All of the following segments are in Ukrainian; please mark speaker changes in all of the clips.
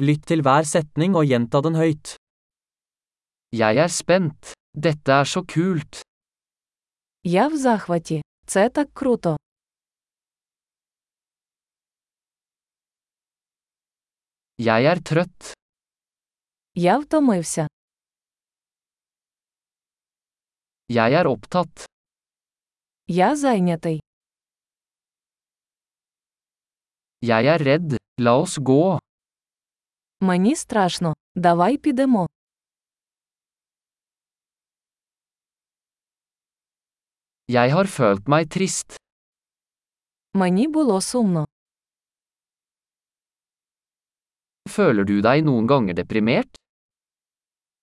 Speaker 1: Lytt til hver setning og gjenta den høyt. Jeg er spent. Dette er så kult.
Speaker 2: Я в захваті. Це так круто.
Speaker 1: Jeg er trøtt.
Speaker 2: Я втомився.
Speaker 1: Jeg er opptatt.
Speaker 2: Я зайнятий.
Speaker 1: Jeg er redd. La oss gå.
Speaker 2: Мені страшно. Давай підемо.
Speaker 1: Jeg har følt meg trist.
Speaker 2: Мені було сумно.
Speaker 1: Føler du deg noen ganger deprimert?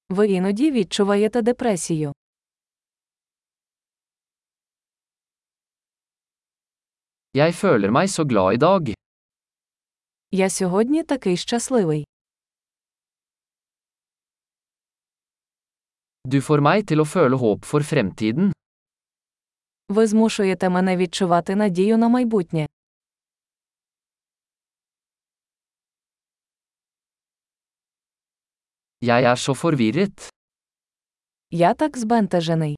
Speaker 2: Ви іноді відчуваєте депресію.
Speaker 1: Jeg føler meg så glad i dag.
Speaker 2: Я сьогодні такий щасливий.
Speaker 1: Du får meg til å føle håp for fremtiden.
Speaker 2: Ви змушуєте мене відчувати надію на майбутнє.
Speaker 1: Jeg er så forvirret.
Speaker 2: Я так збентежений.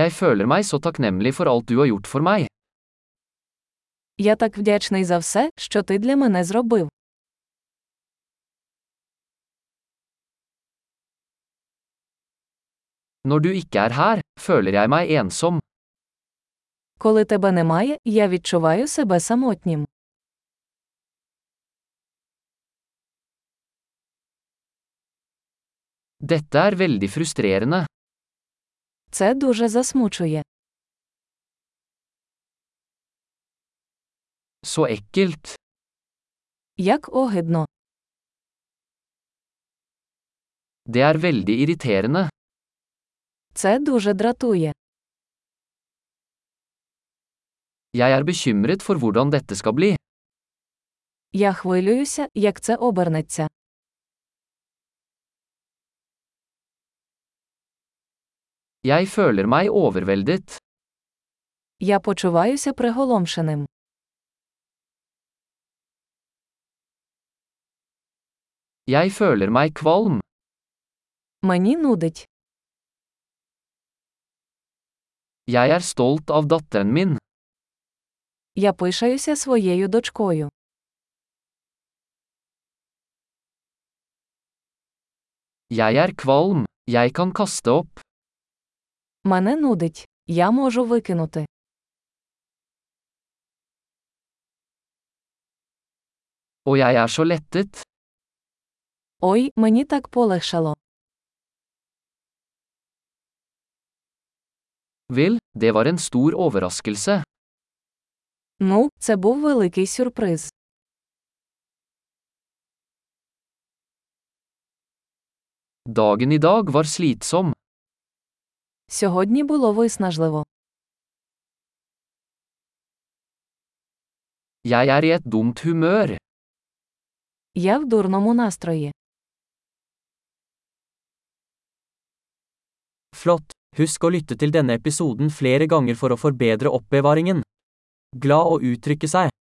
Speaker 1: Jeg føler meg så takknemlig for alt du har gjort for meg.
Speaker 2: Я так вдячний за все, що ти для мене зробив.
Speaker 1: Når du ikke er her, føler jeg meg ensom.
Speaker 2: Коли тебе немає, я відчуваю себе самотнім.
Speaker 1: Dette er veldig frustrerende.
Speaker 2: Це дуже засмучує.
Speaker 1: Så ekkelt.
Speaker 2: Як огидно.
Speaker 1: Det er veldig irriterende.
Speaker 2: Це дуже дратує.
Speaker 1: Jeg er bekymret for hvordan dette skal bli.
Speaker 2: Я хвилююся, як це обернеться.
Speaker 1: Jeg føler meg overveldet.
Speaker 2: Я почуваюся приголомшеним.
Speaker 1: Jeg føler meg kvalm.
Speaker 2: Мені нудить.
Speaker 1: Jeg er stolt av datteren min.
Speaker 2: Я пишаюся своєю дочкою.
Speaker 1: Jeg er kvalm. Jeg kan kaste opp.
Speaker 2: Мене нудить. Я можу викинути.
Speaker 1: Og jeg er så lettet.
Speaker 2: Ой, мені так полегшало.
Speaker 1: Vel, det var en stor overraskelse.
Speaker 2: Ну, це був великий сюрприз.
Speaker 1: Dagen i dag var slitsom.
Speaker 2: Сьогодні було виснажливо.
Speaker 1: Jeg er i et dumt humør.
Speaker 2: Я в дурному настрої.
Speaker 1: Flott. Husk å lytte til denne episoden flere ganger for å forbedre oppbevaringen. Glad å uttrykke seg.